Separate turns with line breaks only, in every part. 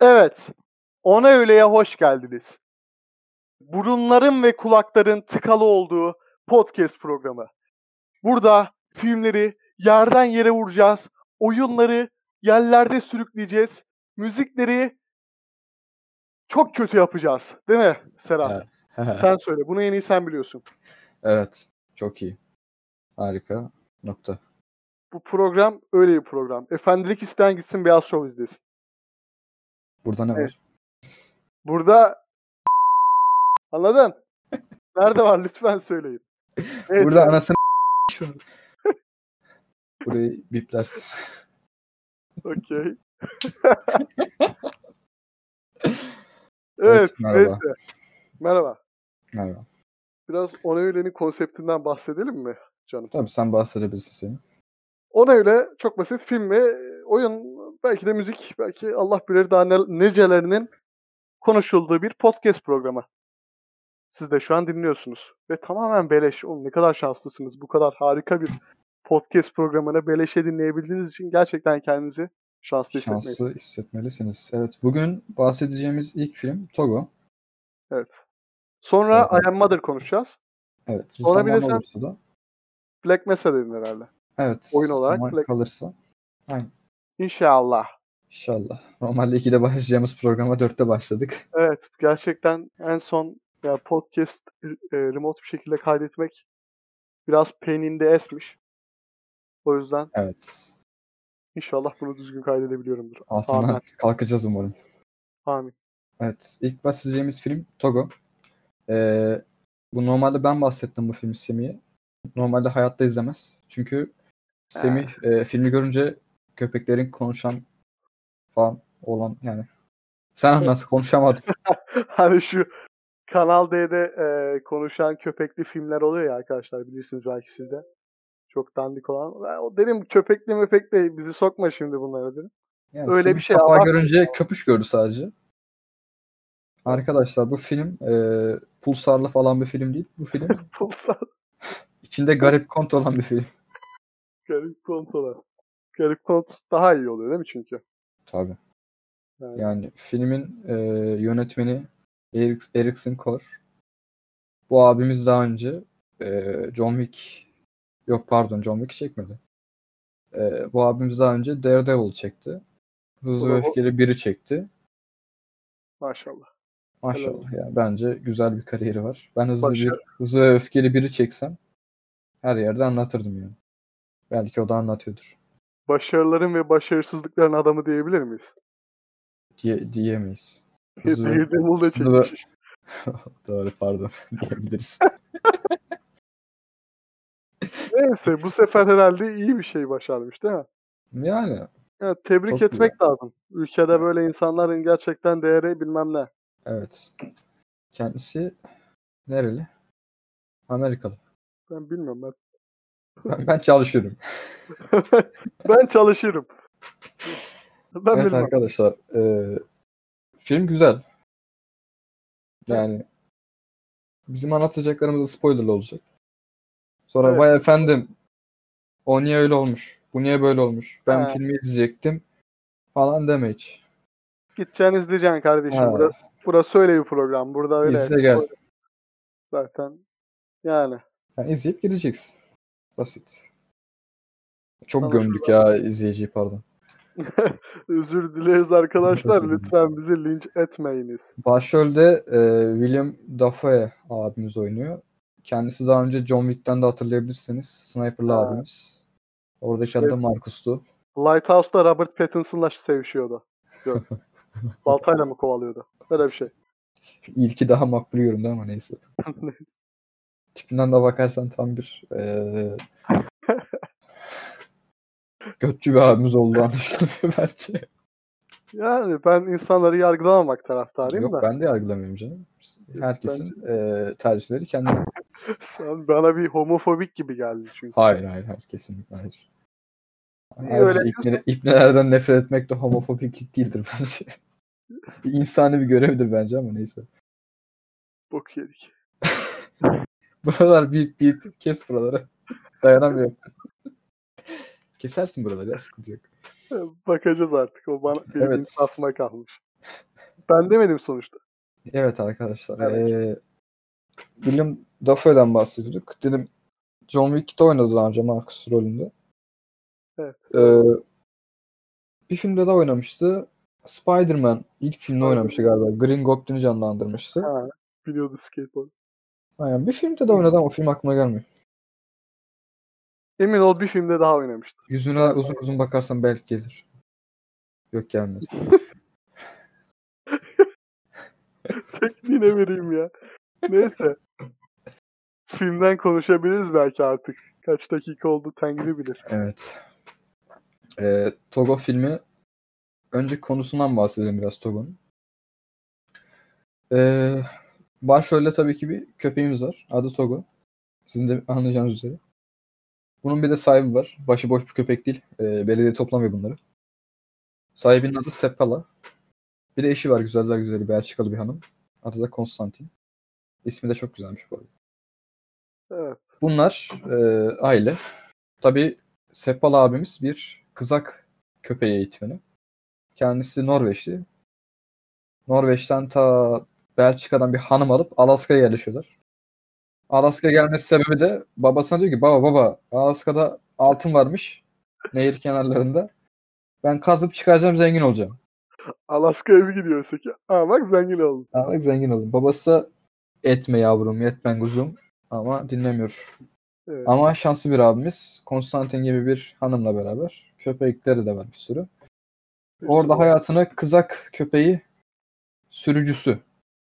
Evet. Ona öyleye hoş geldiniz. Burunların ve kulakların tıkalı olduğu podcast programı. Burada filmleri yerden yere vuracağız, oyunları yerlerde sürükleyeceğiz, müzikleri çok kötü yapacağız. Değil mi Serap?
Evet.
Sen söyle. Bunu en iyi sen biliyorsun.
evet. Çok iyi. Harika. Nokta.
Bu program öyle bir program. Efendilik isteyen gitsin Beyaz Show izlesin.
Burada ne
Evet.
var?
Burada anladın? Nerede var lütfen söyleyin. Evet,
Burada
sen-
anasını var. Burayı biplersin.
Okey. evet, merhaba.
Evet, merhaba.
neyse. Merhaba.
Merhaba.
Biraz Ona Öyle'nin konseptinden bahsedelim mi canım?
Tabii sen bahsedebilirsin seni.
Ona Öyle çok basit film ve e, oyun, belki de müzik, belki Allah bilir daha ne- nicelerinin konuşulduğu bir podcast programı. Siz de şu an dinliyorsunuz. Ve tamamen beleş. Oğlum ne kadar şanslısınız. Bu kadar harika bir podcast programını beleşe dinleyebildiğiniz için gerçekten kendinizi şanslı hissetmeyin.
Şanslı hissetmelisiniz. Evet. Bugün bahsedeceğimiz ilk film Togo.
Evet. Sonra
Evet.
I Am Mother konuşacağız.
Evet.
Olabilir
Zaman
sen-
olursa da.
Black Mesa dedin herhalde.
Evet.
Oyun olarak
zaman
Black-
kalırsa.
İnşallah.
İnşallah. Normalde 2'de başlayacağımız programa 4'te başladık.
Evet gerçekten en son ya podcast e, remote bir şekilde kaydetmek biraz peninde esmiş. O yüzden
Evet.
inşallah bunu düzgün kaydedebiliyorumdur. Amin.
Altına kalkacağız umarım.
Amin.
Evet. ilk bahsedeceğimiz film Togo. Ee, bu normalde ben bahsettim bu filmi Semih'e. Normalde hayatta izlemez. Çünkü Semih e, filmi görünce köpeklerin konuşan falan olan yani. Sen anlat konuşamadım.
Hani şu Kanal D'de e, konuşan köpekli filmler oluyor ya arkadaşlar bilirsiniz belki siz de. Çok dandik olan. Ben o dedim köpekli möpekli bizi sokma şimdi bunlara dedim.
Yani
Öyle
Semih
bir şey
kapağı
abartma.
görünce köpüş gördü sadece. Arkadaşlar bu film e, Pulsar'lı falan bir film değil. Bu film
Pulsar
içinde garip kont olan bir film.
garip kont olan. Garip kont daha iyi oluyor değil mi çünkü?
Tabii.
Evet.
Yani filmin e, yönetmeni Erik, Erikson Kor. Bu abimiz daha önce e, John Wick yok pardon John Wick çekmedi. E, bu abimiz daha önce Daredevil çekti. Hızlı ve
Bravo.
Öfkeli biri çekti.
Maşallah.
Maşallah yani bence güzel bir kariyeri var. Ben hızlı
Başarı.
bir hızlı ve öfkeli biri çeksem her yerde anlatırdım yani. Belki o da anlatıyordur.
Başarıların ve başarısızlıkların adamı diyebilir miyiz?
Diye, diyemeyiz. Hızlı ve-
Daredevil de
hızlı ve-
çekmiş.
Doğru pardon diyebiliriz.
Neyse bu sefer herhalde iyi bir şey başarmış değil mi?
Yani
Evet, tebrik
Çok
etmek lazım. Ülkede böyle insanların gerçekten değeri bilmem ne.
evet. Kendisi nereli? Amerikalı.
Ben bilmiyorum ben.
Ben, ben çalışıyorum.
ben çalışırım. Ben
evet
bilmem.
arkadaşlar. eee, film güzel. Yani bizim anlatacaklarımız da spoilerlı olacak. Sonra
Evet.
vay efendim o niye öyle olmuş? Bu niye böyle olmuş? Ben
Ha.
filmi izleyecektim falan deme hiç.
Gideceksin izleyeceksin kardeşim.
Ha,
Burası, burası öyle bir program. Burada öyle.
İzle gel.
Zaten yani.
Yani izleyip gideceksin. Basit. Çok
Tamam,
gömdük ya izleyiciyi pardon.
Özür dileriz arkadaşlar.
Özür dileriz.
Lütfen bizi linç etmeyiniz.
Başrolde e, William Dafoe abimiz oynuyor. Kendisi daha önce John Wick'ten de hatırlayabilirsiniz. Sniper'lı
Ha.
abimiz. Oradaki
Şey-
adı da Marcus'tu.
Lighthouse'da Robert Pattinson'la sevişiyordu. Yok. Baltayla mı kovalıyordu? Öyle bir şey.
İlki daha makbul yorumda ama neyse.
Neyse.
Tipinden de bakarsan tam bir e, götçü bir abimiz olduğu anlaşılıyor bence.
yani ben insanları yargılamamak taraftarıyım
Yok
da.
ben de yargılamıyorum canım. Herkesin e, tercihleri kendine.
Sen bana bir homofobik gibi geldi çünkü.
Hayır hayır hayır kesinlikle hayır.
Niye
Ayrıca
öyle
ipne- ipnelerden nefret etmek de homofobiklik değildir bence. bir insani bir görevdir bence ama neyse.
Bok yedik.
Buralar bir bir kes buraları. Dayanamıyorum. Kesersin buraları ya sıkıntı yok.
Ee, Bakacağız artık. O bana benim
Evet.
insafıma kalmış. Ben demedim sonuçta.
Evet arkadaşlar.
Evet.
Ee, William Dafoe'den bahsediyorduk. Dedim John Wick'te oynadı daha önce Marcus rolünde.
Evet.
Ee, bir filmde de oynamıştı. Spider-Man ilk filmde oynamıştı galiba. Green Goblin'i canlandırmıştı.
Ha, biliyordu skateboard.
Aynen. Bir filmde de oynadı ama o film aklıma gelmiyor.
Emin ol bir filmde daha oynamıştı.
Yüzüne uzun uzun bakarsan belki gelir. Yok gelmez.
Tekniğine vereyim ya. Neyse. Filmden konuşabiliriz belki artık. Kaç dakika oldu Tengri bilir.
Evet. Ee, Togo filmi önce konusundan bahsedelim biraz Togo'nun. Ee, başrolde tabii ki bir köpeğimiz var. Adı Togo. Sizin de anlayacağınız üzere. Bunun bir de sahibi var. Başıboş bir köpek değil. Ee, belediye toplamıyor bunları. Sahibinin adı Seppala. Bir de eşi var güzeller güzeli Belçikalı bir hanım. Adı da Konstantin. İsmi de çok güzelmiş bu arada.
Evet.
Bunlar e, aile. Tabii Seppal abimiz bir kızak köpeği eğitmeni. Kendisi Norveçli. Norveç'ten ta Belçika'dan bir hanım alıp Alaska'ya yerleşiyorlar. Alaska'ya gelmesi sebebi de babasına diyor ki baba baba Alaska'da altın varmış nehir kenarlarında. Ben kazıp çıkaracağım zengin olacağım.
Alaska'ya bir gidiyor öteki. Aa bak zengin oldu.
Ama zengin olayım. Babası da, etme yavrum yetmen kuzum ama dinlemiyor.
Evet.
Ama şanslı bir abimiz. Konstantin gibi bir hanımla beraber. Köpekleri de var bir sürü. Orada hayatına kızak köpeği sürücüsü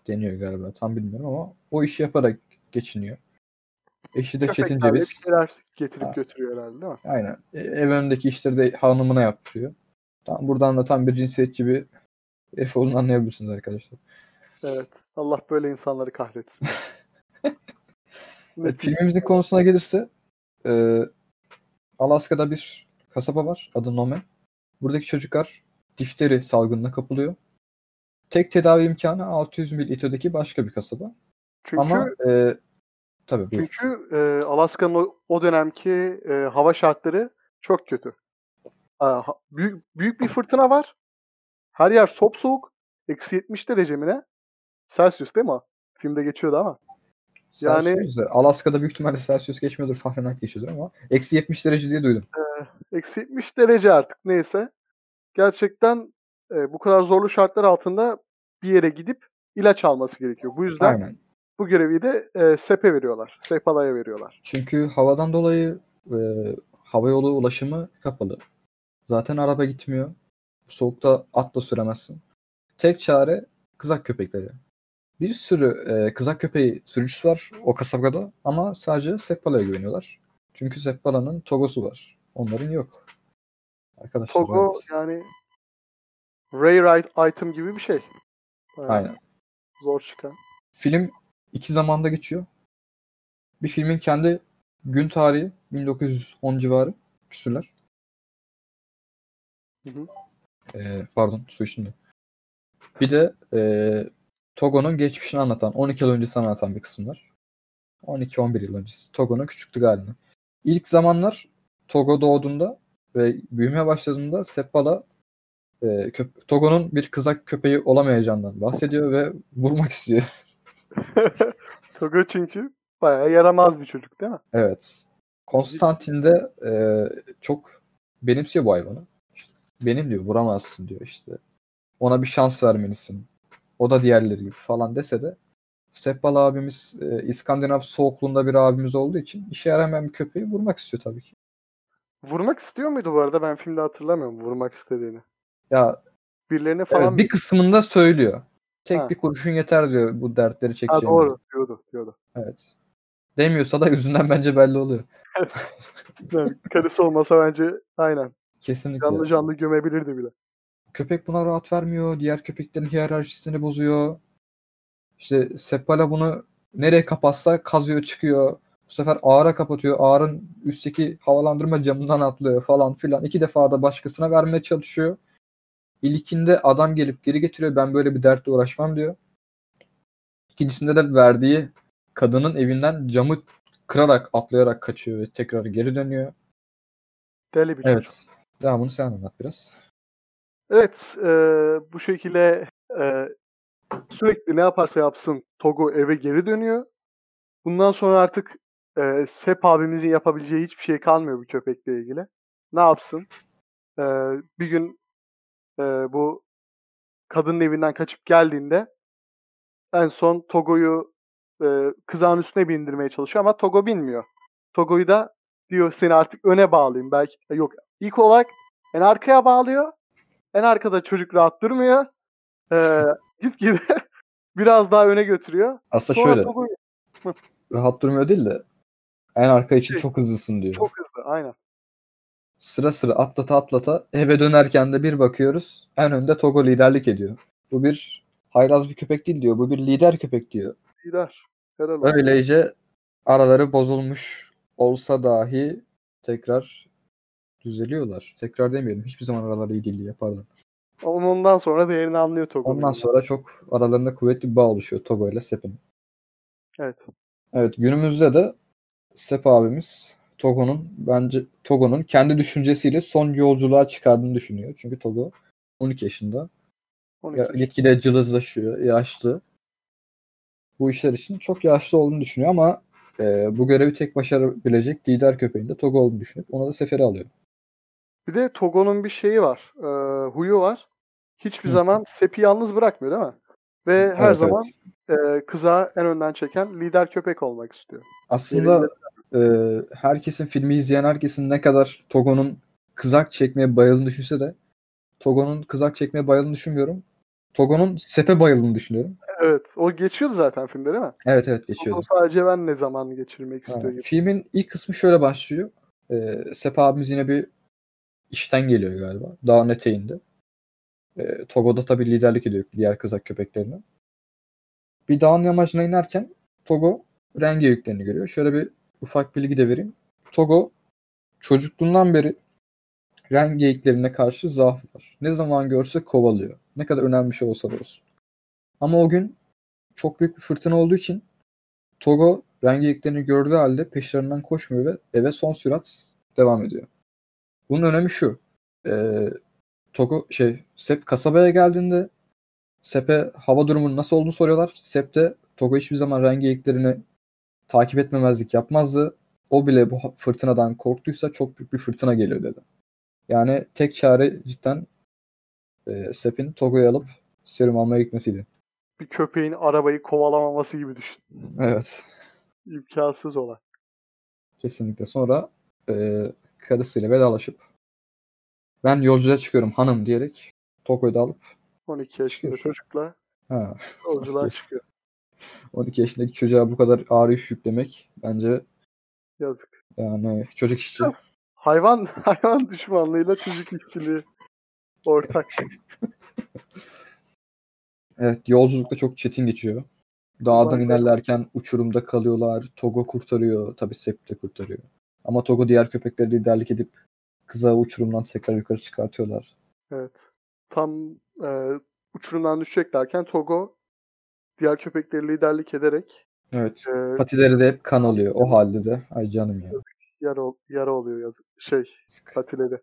deniyor galiba. Tam bilmiyorum ama o işi yaparak geçiniyor. Eşi de Çetin
Köpeklerle
Ceviz.
bir şeyler getirip
Ha.
götürüyor herhalde değil mi?
Aynen. E, Ev önündeki işleri de hanımına yaptırıyor. Tam buradan da tam bir cinsiyetçi bir herif olduğunu anlayabilirsiniz arkadaşlar.
Evet. Allah böyle insanları kahretsin.
E,
ne pis.
Filmimizin konusuna gelirse e, Alaska'da bir kasaba var. Adı Nome. Buradaki çocuklar difteri salgınına kapılıyor. Tek tedavi imkanı 600 mil ötedeki başka bir kasaba.
Çünkü
Ama e, tabii buyur.
Çünkü e, Alaska'nın o, o dönemki e, hava şartları çok kötü. Aa, ha- büyük, büyük bir fırtına var. Her yer soğuk. Eksi 70 derece mi ne? Celsius değil mi? o? Filmde geçiyordu ama. yani-
Celsius da- Alaska'da büyük ihtimalle Celsius geçmiyordur, Fahrenheit geçiyordur ama eksi 70 derece diye duydum.
Eksi 70 derece artık neyse. Gerçekten e, bu kadar zorlu şartlar altında bir yere gidip ilaç alması gerekiyor. Bu yüzden
Aynen.
bu görevi de e, SEP'e veriyorlar. SEPALA'ya veriyorlar.
Çünkü havadan dolayı e, hava yolu ulaşımı kapalı. Zaten araba gitmiyor. Soğukta at da süremezsin. Tek çare kızak köpekleri. Bir sürü e, kızak köpeği sürücüsü var o kasabada ama sadece Seppala'ya güveniyorlar. Çünkü Seppala'nın Togo'su var. Onların yok. Arkadaşlar
Togo
evet.
yani Rare item gibi bir şey. Bayağı
Aynen.
Zor çıkan.
Film iki zamanda geçiyor. Bir filmin kendi gün tarihi 1910 civarı küsürler.
Hı hı.
Ee, pardon su içtim de. Bir de ee, Togo'nun geçmişini anlatan, 12 yıl öncesini anlatan bir kısım var. 12-11 yıl öncesi. Togo'nun küçüklük halini. İlk zamanlar Togo doğduğunda ve büyümeye başladığında Seppala ee, köp- Togo'nun bir kızak köpeği olamayacağından bahsediyor ve vurmak istiyor.
Togo çünkü bayağı yaramaz bir çocuk değil mi?
Evet. Konstantin de e, çok benimsiyor bu hayvanı. İşte benim diyor vuramazsın diyor işte. Ona bir şans vermelisin. O da diğerleri gibi falan dese de Seppal abimiz e, İskandinav soğukluğunda bir abimiz olduğu için işe yaramayan bir köpeği vurmak istiyor tabii ki.
Vurmak istiyor muydu bu arada? Ben filmde hatırlamıyorum vurmak istediğini.
Ya
Birilerine
evet,
falan
bir kısmında söylüyor. Tek
Ha.
bir kurşun yeter diyor bu dertleri
ha,
çekeceğim.
doğru diyordu. diyordu.
Evet. Demiyorsa da yüzünden bence belli oluyor.
Yani karısı olmasa bence aynen.
Kesinlikle.
Canlı canlı gömebilirdi bile.
köpek buna rahat vermiyor. Diğer köpeklerin hiyerarşisini bozuyor. İşte Seppala bunu nereye kapatsa kazıyor çıkıyor. Bu sefer ağara kapatıyor. Ağarın üstteki havalandırma camından atlıyor falan filan. İki defa da başkasına vermeye çalışıyor. İlkinde adam gelip geri getiriyor. Ben böyle bir dertle uğraşmam diyor. İkincisinde de verdiği kadının evinden camı kırarak atlayarak kaçıyor ve tekrar geri dönüyor.
Deli bir çocuk.
Evet. Devamını sen anlat biraz.
Evet, e, bu şekilde Ee, sürekli ne yaparsa yapsın Togo eve geri dönüyor. Bundan sonra artık e, Sep abimizin yapabileceği hiçbir şey kalmıyor bu köpekle ilgili. Ne yapsın? Ee, bir gün e, bu kadının evinden kaçıp geldiğinde en son Togo'yu e, kızağın üstüne bindirmeye çalışıyor ama Togo binmiyor. Togo'yu da diyor seni artık öne bağlayayım belki. E, Yok ilk olarak en arkaya bağlıyor. En arkada çocuk rahat durmuyor. Ee, gitgide biraz daha öne götürüyor.
Aslında
Sonra
şöyle
Togo'yu
rahat durmuyor değil de en arka için
Şey,
çok hızlısın diyor.
çok hızlı aynen.
Sıra sıra atlata atlata eve dönerken de bir bakıyoruz en önde Togo liderlik ediyor. Bu bir haylaz bir köpek değil diyor. Bu bir lider köpek diyor.
Lider. Helal olsun.
Öylece araları bozulmuş olsa dahi tekrar düzeliyorlar. Tekrar demeyelim. Hiçbir zaman araları iyi değil diye pardon.
Ama ondan sonra değerini anlıyor Togo.
Ondan sonra çok aralarında kuvvetli bir bağ oluşuyor Togo ile Sep'in.
Evet.
Evet günümüzde de Sep abimiz Togo'nun bence Togo'nun kendi düşüncesiyle son yolculuğa çıkardığını düşünüyor. Çünkü Togo 12 yaşında.
Onu
Ya, gitgide cılızlaşıyor, yaşlı. Bu işler için çok yaşlı olduğunu düşünüyor ama e, bu görevi tek başarabilecek lider köpeğin de Togo olduğunu düşünüp ona da sefere alıyor.
Bir de Togo'nun bir şeyi var. e, huyu var. Hiçbir
Hı.
zaman Sep'i yalnız bırakmıyor değil mi? Ve her
Evet,
zaman
evet.
e, kıza en önden çeken lider köpek olmak istiyor.
Aslında e, herkesin filmi izleyen herkesin ne kadar Togo'nun kızak çekmeye bayıldığını düşünse de Togo'nun kızak çekmeye bayıldığını düşünmüyorum. Togo'nun sepe bayıldığını düşünüyorum.
Evet. O geçiyordu zaten filmde değil mi?
Evet evet
Togo
geçiyordu.
sadece ben ne zaman geçirmek istiyor
Aynen.
gibi.
Filmin ilk kısmı şöyle başlıyor. E, Sepe abimiz yine bir işten geliyor galiba. Dağın eteğinde. E, Togo'da tabii liderlik ediyor diğer kızak köpeklerine. Bir dağın yamacına inerken Togo renge yüklerini görüyor. Şöyle bir ufak bilgi de vereyim. Togo çocukluğundan beri rengi yüklerine karşı zaafı var. Ne zaman görse kovalıyor. Ne kadar önemli bir şey olsa da olsun. Ama o gün çok büyük bir fırtına olduğu için Togo rengi yüklerini gördüğü halde peşlerinden koşmuyor ve eve son sürat devam ediyor. Bunun önemi şu. Ee, Togo şey Sep kasabaya geldiğinde Sep'e hava durumunun nasıl olduğunu soruyorlar. Sep de Togo hiçbir zaman rengi yüklerini takip etmemezlik yapmazdı. O bile bu ha- fırtınadan korktuysa çok büyük bir fırtına geliyor dedi. Yani tek çare cidden e, Sep'in Togo'yu alıp serum almaya gitmesiydi.
Bir köpeğin arabayı kovalamaması gibi düşün.
Evet.
İmkansız olay.
Kesinlikle. Sonra e, karısıyla vedalaşıp ben yolculuğa çıkıyorum hanım diyerek Togo'yu da alıp
12 yaşında
Çıkıyor.
çocukla
ha,
yolculuğa
Okey.
çıkıyor.
12 yaşındaki çocuğa bu kadar ağır yük yüklemek bence
Yazık.
yani çocuk işçi.
Hayvan hayvan düşmanlığıyla çocuk işçiliği ortak.
Evet yolculukta çok çetin geçiyor. Dağdan
Vay be.
inerlerken uçurumda kalıyorlar. Togo kurtarıyor. Tabii Sep de kurtarıyor. Ama Togo diğer köpekleri liderlik edip kıza uçurumdan tekrar yukarı çıkartıyorlar.
Evet. Tam e, uçurumdan düşeceklerken Togo diğer köpekleri liderlik ederek
Evet.
e,
Patileri de hep kan alıyor. O halde de. Ay canım ya.
yara, ol- yara oluyor yazık. Şey, patileri.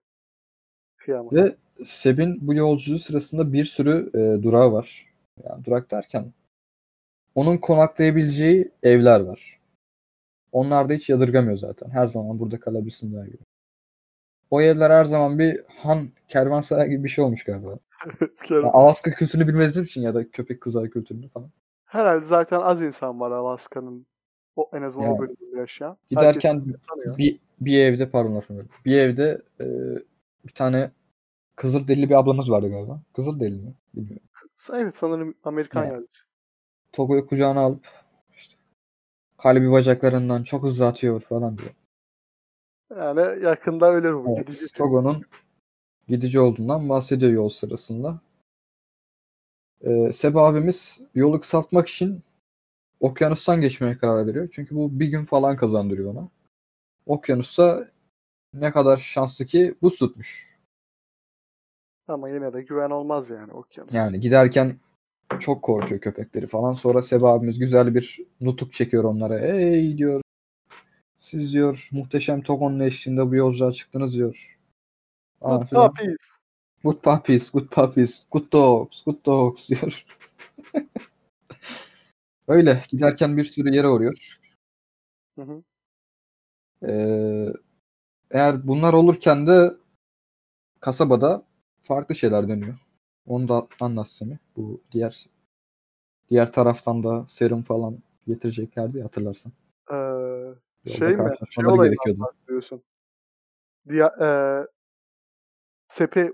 Kıyamet.
Ve Seb'in bu yolculuğu sırasında bir sürü e, durağı var. Yani durak derken onun konaklayabileceği evler var. Onlar da hiç yadırgamıyor zaten. Her zaman burada kalabilirsin der gibi. O evler her zaman bir han kervansaray gibi bir şey olmuş galiba.
Evet, kıyamet.
Yani Alaska kültürünü bilmediğim için ya da köpek kızağı kültürünü falan.
Herhalde zaten az insan var Alaska'nın o en azından o
Yani.
bölümde yaşayan. Herkes
Giderken
tanıyor.
bir, bir evde pardon lafını böldüm. Bir evde e, bir tane kızıl bir ablamız vardı galiba. Kızıl mi? Bilmiyorum.
Evet sanırım Amerikan
Yani.
yerlisi.
Togo'yu kucağına alıp işte kalbi bacaklarından çok hızlı atıyor falan diyor.
Yani yakında öyle bu.
Evet,
Gidecek.
Togo'nun gidici olduğundan bahsediyor yol sırasında. Ee, Seba abimiz yolu kısaltmak için okyanustan geçmeye karar veriyor. Çünkü bu bir gün falan kazandırıyor ona. Okyanusta ne kadar şanslı ki buz tutmuş.
Ama yine de güven olmaz yani okyanus.
Yani giderken çok korkuyor köpekleri falan. Sonra Seba abimiz güzel bir nutuk çekiyor onlara. Ey diyor. Siz diyor muhteşem Togon'un eşliğinde bu yolculuğa çıktınız diyor. Falan
Not
filan.
puppies.
Good puppies, good puppies, good dogs, good dogs diyor. Öyle giderken bir sürü yere uğruyor.
Hı hı.
Ee, eğer bunlar olurken de kasabada farklı şeyler dönüyor. Onu da anlat Semih. Bu diğer diğer taraftan da serum falan getireceklerdi ya, hatırlarsan.
Ee,
Yolda
Şey mi? Şey
karşılaşmaları
olayından
gerekiyordu.
diyorsun. Diya, eee, sepe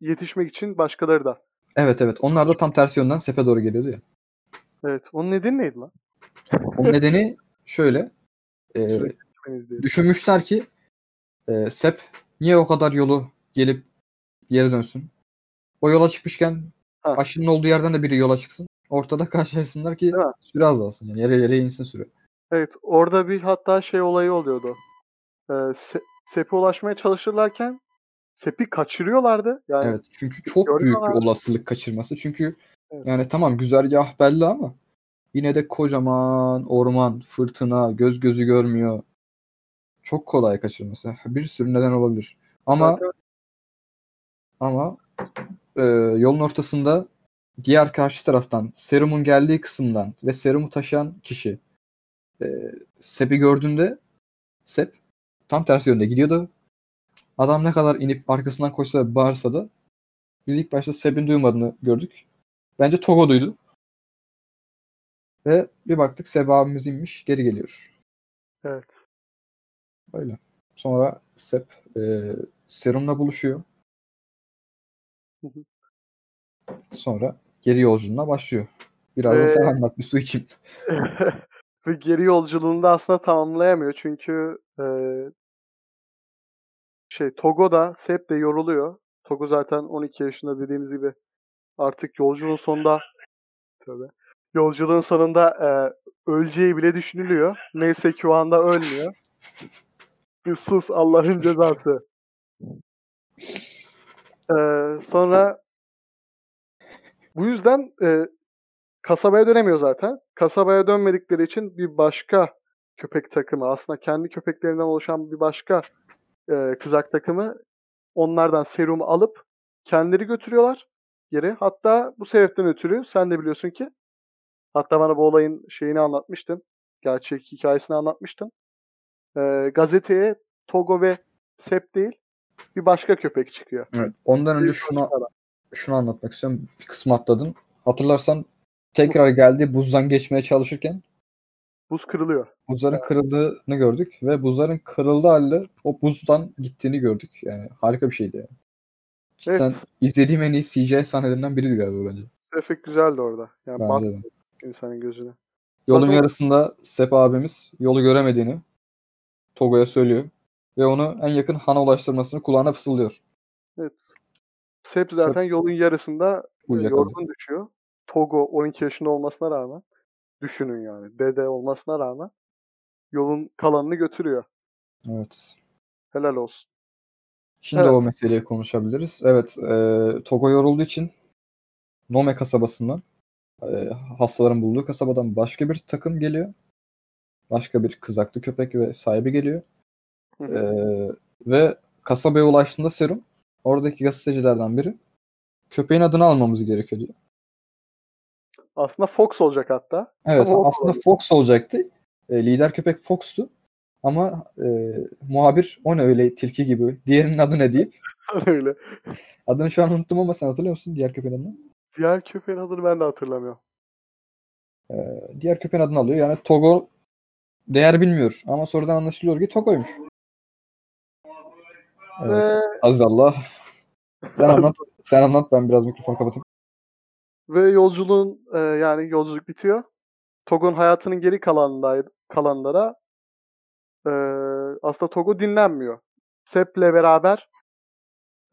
yetişmek için başkaları da.
Evet evet. Onlar da tam tersi yönden sepe doğru geliyordu ya.
Evet. Onun nedeni neydi lan?
Onun nedeni şöyle. e,
Sürekli gitmeniz diye.
düşünmüşler ki e, Sep niye o kadar yolu gelip yere dönsün? O yola çıkmışken
Ha.
aşının olduğu yerden de biri yola çıksın. Ortada karşılaşsınlar ki
Değil mi?
süre azalsın. Yani yere yere insin süre.
Evet. Orada bir hatta şey olayı oluyordu. Ee, se- sepe ulaşmaya çalışırlarken sepi kaçırıyorlardı. Yani
Evet. Çünkü çok büyük
görüyorlar.
bir olasılık kaçırması. Çünkü
Evet.
yani tamam güzergah belli ama yine de kocaman orman, fırtına, göz gözü görmüyor. Çok kolay kaçırması. Bir sürü neden olabilir. Ama
zaten-
Ama e, yolun ortasında diğer karşı taraftan serumun geldiği kısımdan ve serumu taşıyan kişi e, Sep'i gördüğünde Sep tam tersi yönde gidiyordu. Adam ne kadar inip arkasından koşsa da bağırsa da biz ilk başta Sep'in duymadığını gördük. Bence Togo duydu. Ve bir baktık Sep abimiz inmiş geri geliyor.
evet.
Öyle. Sonra Sep e, serumla buluşuyor.
Hı hı.
Sonra geri yolculuğuna başlıyor. Biraz da sen
Ee,
anlat bir su içeyim.
Ve geri yolculuğunu da aslında tamamlayamıyor. Çünkü eee, şey Togo'da Sep de yoruluyor. Togo zaten 12 yaşında dediğimiz gibi artık yolculuğun sonunda tövbe, yolculuğun sonunda eee, öleceği bile düşünülüyor. Neyse ki o anda ölmüyor. Bir sus Allah'ın cezası. Eee, sonra bu yüzden eee kasabaya dönemiyor zaten. Kasabaya dönmedikleri için bir başka köpek takımı aslında kendi köpeklerinden oluşan bir başka e, kızak takımı onlardan serumu alıp kendileri götürüyorlar geri. Hatta bu sebepten ötürü sen de biliyorsun ki hatta bana bu olayın şeyini anlatmıştın. Gerçek hikayesini anlatmıştın. E, gazeteye Togo ve Sep değil bir başka köpek çıkıyor.
Evet. Ondan önce
Bir
şunu
başka adam.
şunu anlatmak istiyorum. Bir kısmı atladım. Hatırlarsan tekrar geldi buzdan geçmeye çalışırken
Buz kırılıyor.
buzların kırıldığını gördük ve buzların kırıldığı halde o buzdan gittiğini gördük. Yani harika bir şeydi yani. Cidden
Evet.
izlediğim en iyi CGI sahnelerinden biriydi galiba bence.
Efekt güzeldi orada. Yani
Bence
battı
de.
insanın gözüne.
Yolun
Zaten-
yarısında Sep abimiz yolu göremediğini Togo'ya söylüyor ve onu en yakın hana ulaştırmasını kulağına fısıldıyor.
Evet. Sep zaten yolun yarısında e,
Uyuyakalıyor.
yorgun düşüyor. Togo 12 yaşında olmasına rağmen düşünün yani dede olmasına rağmen yolun kalanını götürüyor.
Evet.
Helal olsun.
Şimdi
Evet.
o meseleyi konuşabiliriz. Evet, e, Togo yorulduğu için Nome kasabasından, e, hastaların bulunduğu kasabadan başka bir takım geliyor. Başka bir kızaklı köpek ve sahibi geliyor.
Hı
E,
hı.
ve kasabaya ulaştığında Serum, oradaki gazetecilerden biri, köpeğin adını almamız gerekiyor diyor.
Aslında Fox olacak hatta.
Evet,
Ama o
aslında Fox olacaktı. E, lider köpek Fox'tu. Ama e, muhabir o ne öyle tilki gibi, diğerinin adı ne deyip,
Öyle.
adını şu an unuttum ama sen hatırlıyor musun diğer köpeğin adını?
Diğer köpeğin adını ben de hatırlamıyorum.
diğer köpeğin adını alıyor. Yani Togo değer bilmiyor ama sonradan anlaşılıyor ki Togo'ymuş. Evet.
Ve,
Aziz Allah. Sen anlat. Sen anlat ben biraz mikrofon kapatayım.
ve yolculuğun e, yani yolculuk bitiyor. Togo'nun hayatının geri kalanında, kalanlara e, aslında Togo dinlenmiyor. Sep'le beraber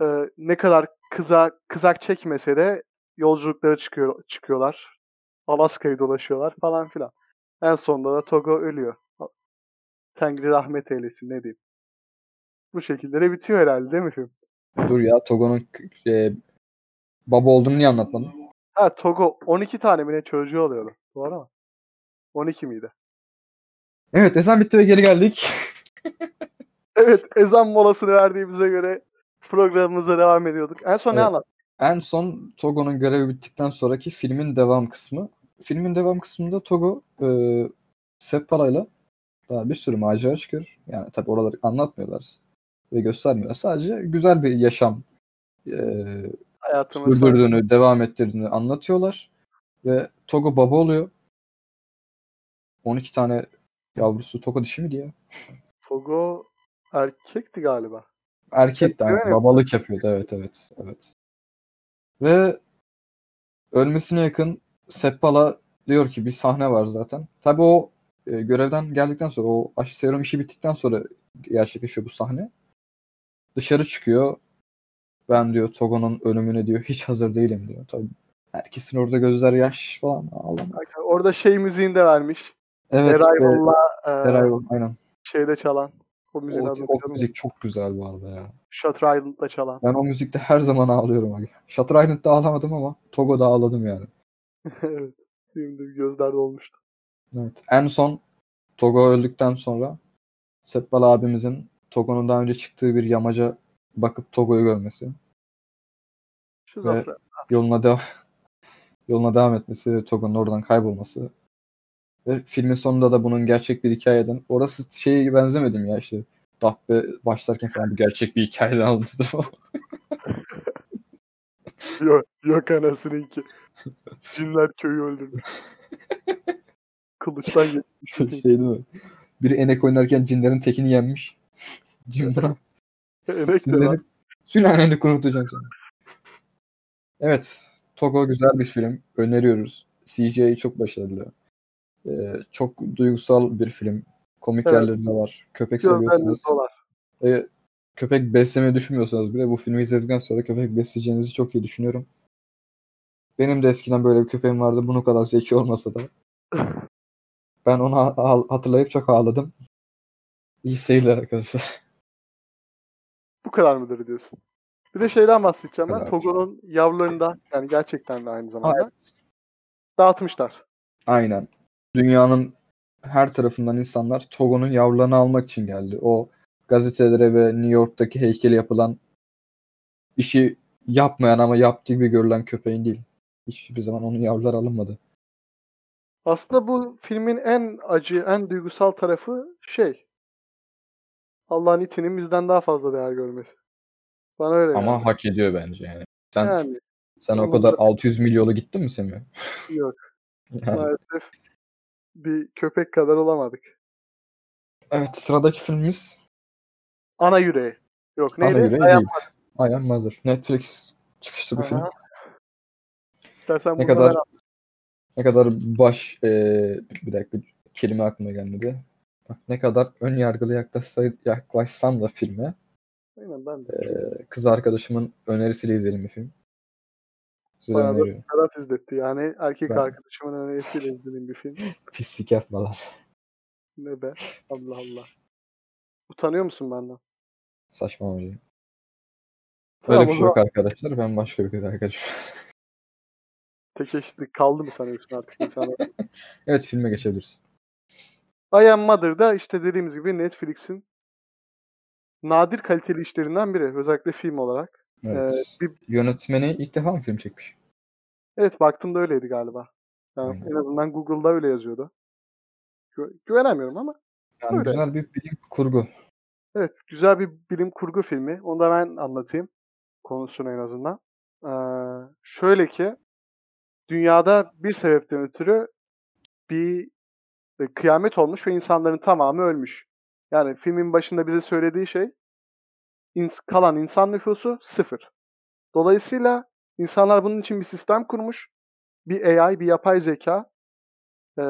e, ne kadar kıza kızak çekmese de yolculuklara çıkıyor çıkıyorlar. Alaska'yı dolaşıyorlar falan filan. En sonunda da Togo ölüyor. Tengri rahmet eylesin ne diyeyim. Bu şekilde de bitiyor herhalde değil mi film?
Dur ya Togo'nun e, baba olduğunu niye anlatmadın?
Ha Togo 12 tane mi ne çocuğu oluyordu. Doğru mu? 12 miydi?
Evet ezan bitti ve geri geldik.
Evet ezan molasını verdiğimize göre programımıza devam ediyorduk. En son ne
Evet.
anlat?
En son Togo'nun görevi bittikten sonraki filmin devam kısmı. Filmin devam kısmında Togo e, Seppala'yla daha bir sürü macera çıkıyor. Yani tabi oraları anlatmıyorlar ve göstermiyorlar. Sadece güzel bir yaşam e,
Hayatımız var.
sürdürdüğünü, devam ettirdiğini anlatıyorlar. Ve Togo baba oluyor. 12 tane yavrusu Togo dişi miydi ya?
Togo erkekti galiba.
Erkek de
Öyle
aynen,
mi?
babalık yapıyordu. Evet evet. evet. Ve ölmesine yakın Seppala diyor ki bir sahne var zaten. Tabi o e, görevden geldikten sonra o aşı serum işi bittikten sonra gerçekleşiyor bu sahne. Dışarı çıkıyor. Ben diyor Togo'nun ölümüne diyor hiç hazır değilim diyor. Tabii herkesin orada gözler yaş falan. Ağlam.
Bak, Orada şey müziğini de vermiş.
Evet.
Eray
ve-
Molla, e,
Eray Molla, aynen.
şeyde çalan. O
O,
müziği
o
anlatıyorum.
müzik çok güzel bu arada ya.
Shutter Island'da çalan.
Ben o müzikte her zaman ağlıyorum. abi. Shutter Island'da ağlamadım ama Togo'da ağladım yani.
evet. Benim de gözler dolmuştu.
Evet. En son Togo öldükten sonra Seppal abimizin Togo'nun daha önce çıktığı bir yamaca bakıp Togo'yu görmesi.
Şizofren.
Yoluna devam yoluna devam etmesi ve Togo'nun oradan kaybolması. Ve filmin sonunda da bunun gerçek bir hikayeden. Orası şeye benzemedim ya işte. Dabbe başlarken falan bir gerçek bir hikayeden alıntıdır falan.
Yok, yok anasınınki. Cinler köyü öldürmüş. Kılıçtan geçmiş. bir
şey
tek.
değil mi? Biri enek oynarken cinlerin tekini yenmiş. Cin bırak.
Enek de var.
Sinirlenip sülaleni kurutacağım seni. Evet. Togo güzel bir film. Öneriyoruz. CGI çok başarılı. Ee, çok duygusal bir film. Komik
Evet.
yerleri de var. Köpek
Gözleriniz
seviyorsanız,
dolar.
e, köpek beslemeyi düşünmüyorsanız bile bu filmi izledikten sonra köpek besleyeceğinizi çok iyi düşünüyorum. Benim de eskiden böyle bir köpeğim vardı. Bunu kadar zeki olmasa da. Ben onu ha- ha- hatırlayıp çok ağladım. İyi seyirler arkadaşlar.
Bu kadar mıdır diyorsun? Bir de şeyden bahsedeceğim ben.
Evet.
Togo'nun yavrularında yani gerçekten de aynı zamanda
Hayır.
dağıtmışlar.
Aynen. Dünyanın her tarafından insanlar Togo'nun yavrularını almak için geldi. O gazetelere ve New York'taki heykeli yapılan işi yapmayan ama yaptığı gibi görülen köpeğin değil. Hiçbir zaman onun yavruları alınmadı.
Aslında bu filmin en acı, en duygusal tarafı şey. Allah'ın itinin bizden daha fazla değer görmesi. Bana öyle geldi.
Ama hak ediyor bence yani. Sen
yani
sen o
Ama-
kadar 600 milyonu gittin mi Semih?
yok.
Yani.
Maalesef bir köpek kadar olamadık.
Evet sıradaki filmimiz
Ana yüreği. Yok neydi?
Ana Yüreği
Hayat
değil. I Am Mother. Netflix çıkışlı bir film.
Aha. İstersen
Ne
bunu da
kadar
ben
ne kadar baş eee, bir dakika kelime aklıma gelmedi. Bak, ne kadar ön yargılı yaklaşsay, yaklaşsam da filme
Aynen ben de.
eee, kız arkadaşımın önerisiyle izleyelim bir film. Size
Bana da
öneriyorum.
Serhat izletti. Yani erkek
Ben-
arkadaşımın önerisiyle izlediğim bir film.
Pislik yapma lan.
Ne be? Allah Allah. Utanıyor musun benden?
Saçmalamayın. Öyle
Tamam,
bir
o
şey yok arkadaşlar. Ben başka bir kız arkadaşım.
Tek eşitlik kaldı mı sanıyorsun artık insanlar?
evet filme geçebiliriz.
I Am Mother'da işte dediğimiz gibi Netflix'in nadir kaliteli işlerinden biri. Özellikle film olarak.
Evet.
Ee, bir,
Yönetmeni ilk defa mı film çekmiş?
evet baktığımda öyleydi galiba. Yani
Aynen.
en azından Google'da öyle yazıyordu. Gü- güvenemiyorum ama
Yani
Öyle.
güzel bir bilim kurgu.
Evet, güzel bir bilim kurgu filmi. Onu da ben anlatayım konusunu en azından. Ee, şöyle ki, dünyada bir sebepten ötürü bir e, kıyamet olmuş ve insanların tamamı ölmüş. Yani filmin başında bize söylediği şey, ins- kalan insan nüfusu sıfır. Dolayısıyla insanlar bunun için bir sistem kurmuş. Bir AI, bir yapay zeka e,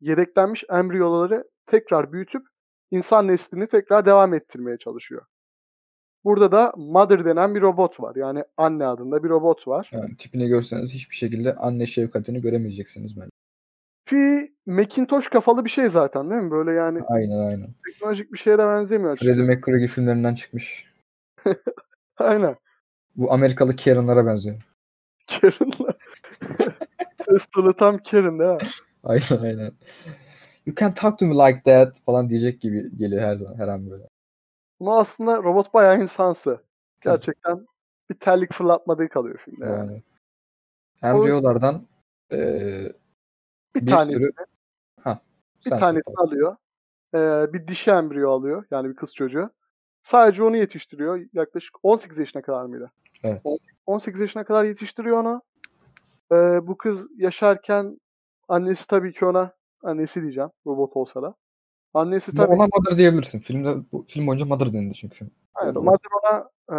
yedeklenmiş embriyoları tekrar büyütüp insan neslini tekrar devam ettirmeye çalışıyor. Burada da Mother denen bir robot var. Yani anne adında bir robot var.
Yani tipini görseniz hiçbir şekilde anne şefkatini göremeyeceksiniz bence.
Fi Macintosh kafalı bir şey zaten değil mi? Böyle yani
Aynen aynen.
teknolojik bir şeye de benzemiyor. açıkçası.
Freddie McCreary filmlerinden çıkmış.
Aynen.
Bu Amerikalı Karen'lara benziyor.
Karen'la. Ses tonu tam Karen değil mi?
Aynen aynen. You can talk to me like that falan diyecek gibi geliyor her zaman her an böyle.
Ama aslında robot bayağı insansı. Gerçekten bir terlik fırlatmadığı kalıyor filmde. Yani.
Yani. Hem
O-
Rio'lardan eee,
Bir,
bir
tane
sürü... Ha,
bir
sen şey
tanesini
söyle.
alıyor. Ee, bir dişi embriyo alıyor. Yani bir kız çocuğu. Sadece onu yetiştiriyor. Yaklaşık 18 yaşına kadar mıydı?
Evet.
18 yaşına kadar yetiştiriyor onu. Ee, bu kız yaşarken annesi tabii ki ona annesi diyeceğim robot olsa da. Annesi
Ama
tabii
ona Mother diyebilirsin. Filmde, bu film boyunca Mother denildi çünkü.
Aynen. Madem ona e,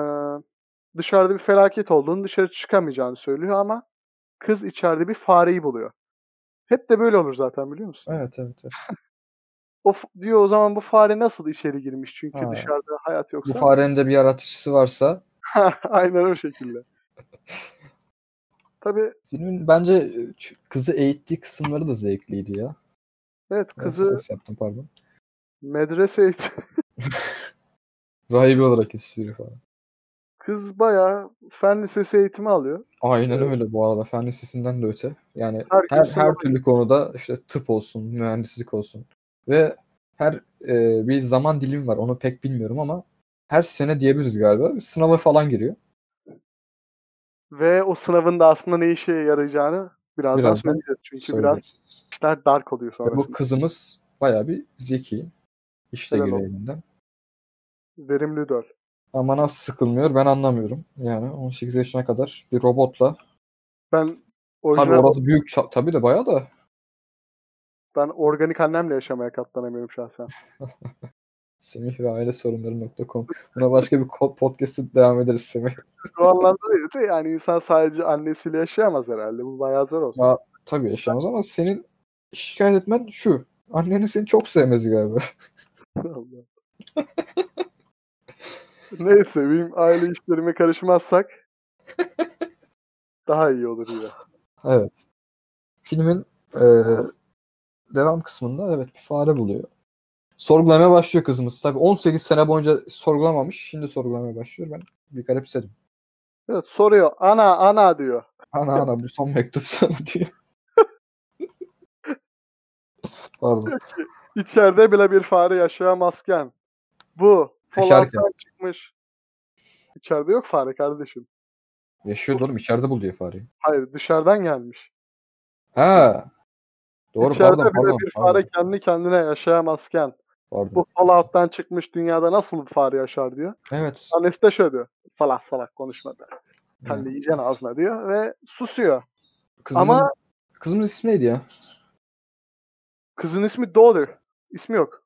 dışarıda bir felaket olduğunu, dışarı çıkamayacağını söylüyor ama kız içeride bir fareyi buluyor. Hep de böyle olur zaten biliyor musun?
Evet evet. evet.
O f- diyor o zaman bu fare nasıl içeri girmiş çünkü
Ha.
dışarıda hayat
Bu
yoksa.
farenin de bir yaratıcısı varsa
Aynen o şekilde. Tabii
filmin bence e, ç- kızı eğittiği kısımları da zevkliydi ya.
evet
Evet,
kızı
Ses yaptım pardon.
medrese eğit-
Rahibi olarak yetiştiriyor falan.
kız bayağı fen lisesi eğitimi alıyor.
Aynen
Evet.
öyle bu arada. Fen lisesinden de öte. Yani
Her
her,
gün
her,
sınava-
türlü konuda işte tıp olsun, mühendislik olsun. Ve her e, bir zaman dilimi var. Onu pek bilmiyorum ama her sene diyebiliriz galiba. Sınava falan giriyor.
Ve o sınavın da aslında ne işe yarayacağını birazdan
Birazdan
söyleyeceğiz. Çünkü biraz
Söyleyeceğiz.
işler dark oluyor
Ve
sonrasında.
bu kızımız bayağı bir zeki. İşte
Helal olsun.
gereğinden.
Verimli döl.
Ama nasıl sıkılmıyor ben anlamıyorum. Yani 18 yaşına kadar bir robotla.
Ben
Tabii
orijinal
orası büyük ça- tabii de bayağı da.
Ben organik annemle yaşamaya katlanamıyorum şahsen.
Semih ve aile sorunları.com. Buna başka bir ko- podcast'ı devam ederiz Semih.
Bu anlamda değil de yani insan sadece annesiyle yaşayamaz herhalde. Bu bayağı zor olsun.
Ya- Tabii yaşamaz ama senin şikayet etmen şu. Annenin seni çok sevmesi galiba.
Allah. Neyse benim aile işlerime karışmazsak daha iyi olur yine.
Evet. Filmin eee, devam kısmında evet bir fare buluyor. Sorgulamaya başlıyor kızımız. Tabii 18 sene boyunca sorgulamamış. Şimdi sorgulamaya başlıyor. Ben bir garipsedim.
Evet, soruyor. Ana ana diyor.
Ana ana bu son mektup sana diyor. Pardon.
İçeride bile bir fare yaşayamazken bu
Yaşarken.
Fallout'tan çıkmış. İçeride yok fare kardeşim.
Yaşıyor oğlum içeride buluyor fareyi.
Hayır dışarıdan gelmiş.
Ha. Doğru
İçeride
pardon
bile
pardon.
bir fare
pardon,
kendi kendine yaşayamazken
pardon.
bu Fallout'tan çıkmış dünyada nasıl bir fare yaşar diyor.
Evet.
Annesi de şöyle diyor. Salak salak konuşma be. Sen
Evet.
de yiyeceksin ağzına diyor ve susuyor.
Kızımız,
Ama-
kızımız ismi neydi ya?
Kızın ismi Daughter. İsmi yok.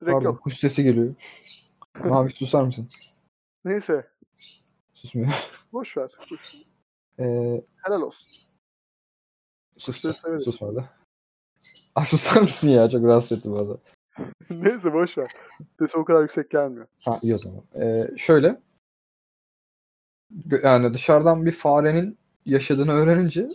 Direkt
Pardon,
yok.
kuş sesi geliyor. Mavi susar mısın?
Neyse.
Susmuyor.
Boş ver. Boş-
Ee,
Helal olsun.
sustu.
sesi evet.
Susmadı. Aa, susar mısın ya? Çok rahatsız etti bu arada.
Neyse boş ver. Sesi o kadar yüksek gelmiyor.
Ha iyi o zaman. Ee, şöyle. Gö- Yani dışarıdan bir farenin yaşadığını öğrenince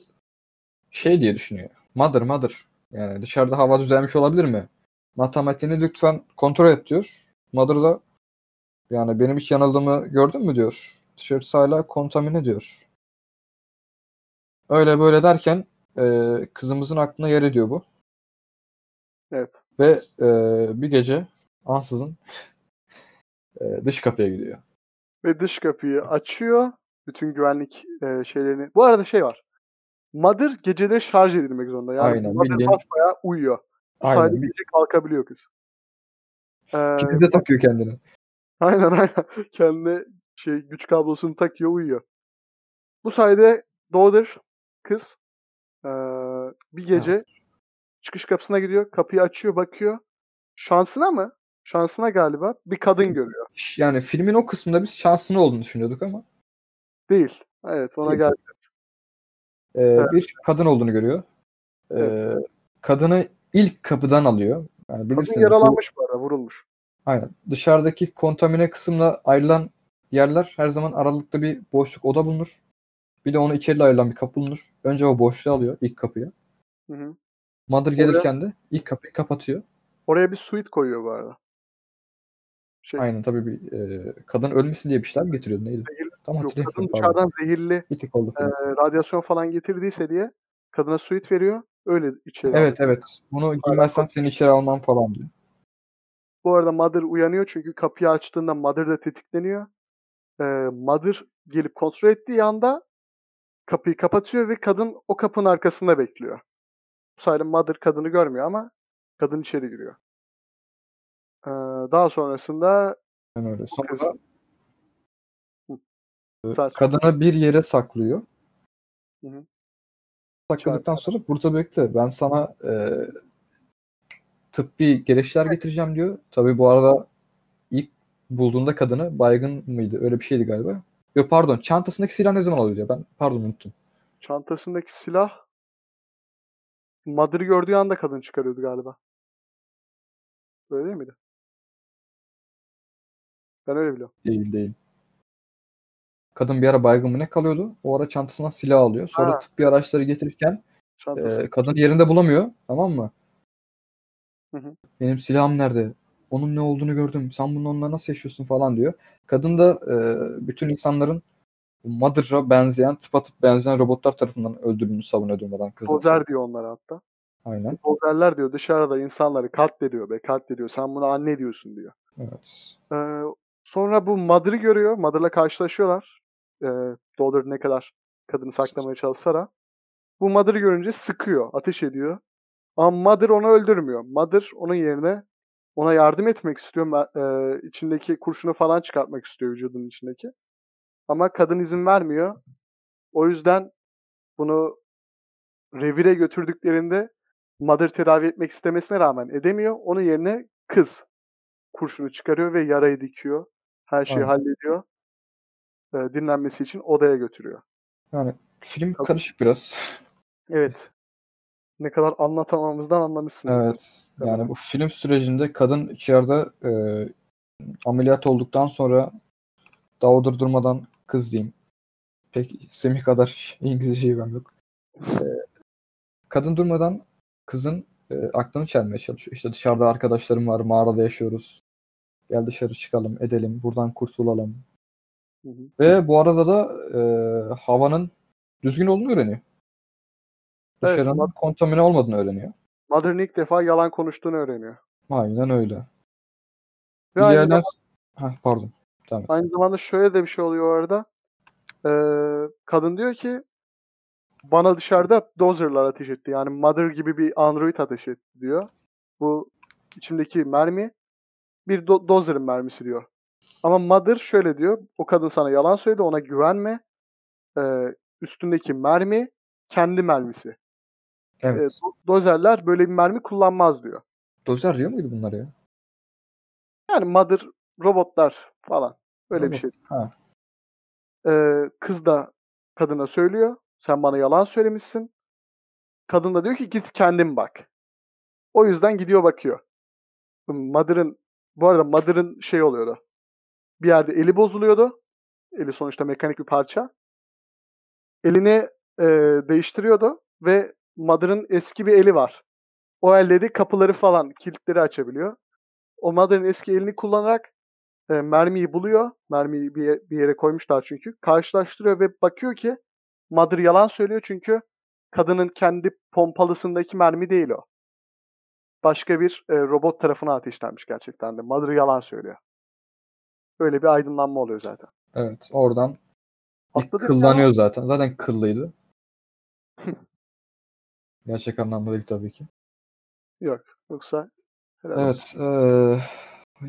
şey diye düşünüyor. Mother mother. Yani dışarıda hava düzelmiş olabilir mi? Matematiğini lütfen kontrol et diyor. Mother da yani benim hiç yanıldığımı gördün mü diyor. Dışarısı hala kontamine diyor. Öyle böyle derken e, kızımızın aklına yer ediyor bu.
Evet.
Ve e, bir gece ansızın e, dış kapıya gidiyor.
Ve dış kapıyı açıyor. Bütün güvenlik e, şeylerini. Bu arada şey var. Mother geceleri şarj edilmek zorunda. Yani
Aynen,
Mother
bildiğin-
basbayağı uyuyor. Bu
Aynen.
sayede
Bir
gece kalkabiliyor kız. Ee,
kilide takıyor kendini.
Aynen aynen. Kendine şey güç kablosunu takıyor uyuyor. Bu sayede Daughter kız eee, bir gece çıkış kapısına gidiyor. Kapıyı açıyor bakıyor. Şansına mı? Şansına galiba bir kadın görüyor.
Ş- Yani filmin o kısmında biz şansını olduğunu düşünüyorduk ama
Değil. Evet ona
Değil.
geldi.
e, bir kadın olduğunu görüyor. E, Kadını ilk kapıdan alıyor. Yani
Kadın
bilirsiniz bu-
yaralanmış bu arada vurulmuş.
aynen. Dışarıdaki kontamine kısımla ayrılan yerler her zaman aralıkta bir boşluk oda bulunur. Bir de onu içeriyle ayrılan bir kapı bulunur. Önce o boşluğu alıyor ilk kapıyı.
Hı hı.
Mother gelirken de ilk kapıyı kapatıyor.
Oraya bir suit koyuyor bu arada. Şey,
Aynen tabii bir e, kadın ölmesin diye bir şeyler mi getiriyordu neydi?
Zehirli-
Tam
yok, kadın
hatırlayamadım. pardon.
dışarıdan Ee, zehirli
Bir tık oldu.
eee, radyasyon falan getirdiyse diye kadına suit veriyor. Öyle içeri alıyor.
Evet evet. Bunu giymezsen seni içeri almam falan diyor.
Bu arada Mother uyanıyor çünkü kapıyı açtığında Mother da tetikleniyor. e, Mother gelip kontrol ettiği anda kapıyı kapatıyor ve kadın o kapının arkasında bekliyor. Bu sayede Mother kadını görmüyor ama kadın içeri giriyor. E, daha sonrasında
Yani öyle. Sonra
Hı.
e,
Saç.
kadına bir yere saklıyor.
Hı hı.
Sakladıktan sonra burada bekle. Ben sana e, tıbbi gereçler getireceğim diyor. Tabii bu arada ilk bulduğunda kadını baygın mıydı? Öyle bir şeydi galiba. Yok pardon. Çantasındaki silah ne zaman alıyor diyor. Ben pardon unuttum.
çantasındaki silah Mother'ı gördüğü anda kadın çıkarıyordu galiba. Öyle değil miydi? Ben öyle biliyorum.
Değil değil. Kadın bir ara baygın mı ne kalıyordu? O ara çantasından silah alıyor. Sonra
Ha.
tıbbi araçları getirirken
Çantası.
Ee, kadın yerinde bulamıyor. Tamam mı?
Hı hı.
Benim silahım nerede? Onun ne olduğunu gördüm. Sen bunu onunla nasıl yaşıyorsun falan diyor. Kadın da e, bütün insanların bu Mother'a benzeyen, tıpatıp benzeyen robotlar tarafından öldürüldüğünü savunuyor durmadan kızı.
Dozer diyor onlara hatta.
Aynen.
Dozerler diyor dışarıda insanları katlediyor be katlediyor. Sen buna anne diyorsun diyor.
Evet.
Ee, sonra bu Mother'ı görüyor. Mother'la karşılaşıyorlar. Ee, Dollar ne kadar kadını saklamaya çalışsa da. Bu Mother'ı görünce sıkıyor. Ateş ediyor. Ama Mother onu öldürmüyor. Mother onun yerine ona yardım etmek istiyor. Ma- e, içindeki kurşunu falan çıkartmak istiyor vücudunun içindeki. Ama kadın izin vermiyor. O yüzden bunu revire götürdüklerinde Mother tedavi etmek istemesine rağmen edemiyor. Onun yerine kız kurşunu çıkarıyor ve yarayı dikiyor. Her şeyi
Aynen.
hallediyor. E, dinlenmesi için odaya götürüyor.
Yani film
Tabii.
karışık biraz.
Evet. Ne kadar anlatamamızdan anlamışsınız.
Evet.
Tabii.
Yani bu film sürecinde kadın içeride e, ameliyat olduktan sonra davadır durmadan kız diyeyim. Pek Semih kadar İngilizceyi ben yok. E, kadın durmadan kızın e, aklını çelmeye çalışıyor. İşte dışarıda arkadaşlarım var, mağarada yaşıyoruz. Gel dışarı çıkalım, edelim, buradan kurtulalım.
Hı hı.
Ve bu arada da e, havanın düzgün olduğunu öğreniyor.
Evet,
Dışarının kontamine olmadığını öğreniyor.
Mother'ın ilk defa yalan konuştuğunu öğreniyor. Aynen
Aynen öyle.
Ve aynı,
İlerler-
zamanda,
Heh, pardon. Devam et.
aynı zamanda şöyle de bir şey oluyor orada. Ee, kadın diyor ki bana dışarıda dozerlar ateş etti. Yani Mother gibi bir android ateş etti diyor. Bu içimdeki mermi bir do- dozer'ın mermisi diyor. Ama Mother şöyle diyor. O kadın sana yalan söyledi. Ona güvenme. Ee, üstündeki mermi kendi mermisi. Ee,
Evet.
do- dozerler böyle bir mermi kullanmaz diyor.
Dozer diyor muydu bunları ya?
Yani Mother robotlar falan. Öyle bir
Robot,
şey.
ha.
Ee, kız da kadına söylüyor. Sen bana yalan söylemişsin. Kadın da diyor ki git kendin bak. O yüzden gidiyor bakıyor. Mother'ın bu arada Mother'ın şey oluyordu. Bir yerde eli bozuluyordu. Eli sonuçta mekanik bir parça. Elini e, değiştiriyordu ve Mother'ın eski bir eli var. O elle de kapıları falan kilitleri açabiliyor. O Mother'ın eski elini kullanarak e, mermiyi buluyor. Mermiyi bir, ye- bir yere koymuşlar çünkü. Karşılaştırıyor ve bakıyor ki Mother yalan söylüyor çünkü kadının kendi pompalısındaki mermi değil o. Başka bir e, robot tarafına ateşlenmiş gerçekten de. Mother yalan söylüyor. Öyle bir aydınlanma oluyor zaten.
Evet. Oradan ilk
Atladık ya.
kıllanıyor zaten. Zaten kıllıydı. Gerçek anlamda değil tabii ki.
Yoksa helal olsun.
Evet. eee,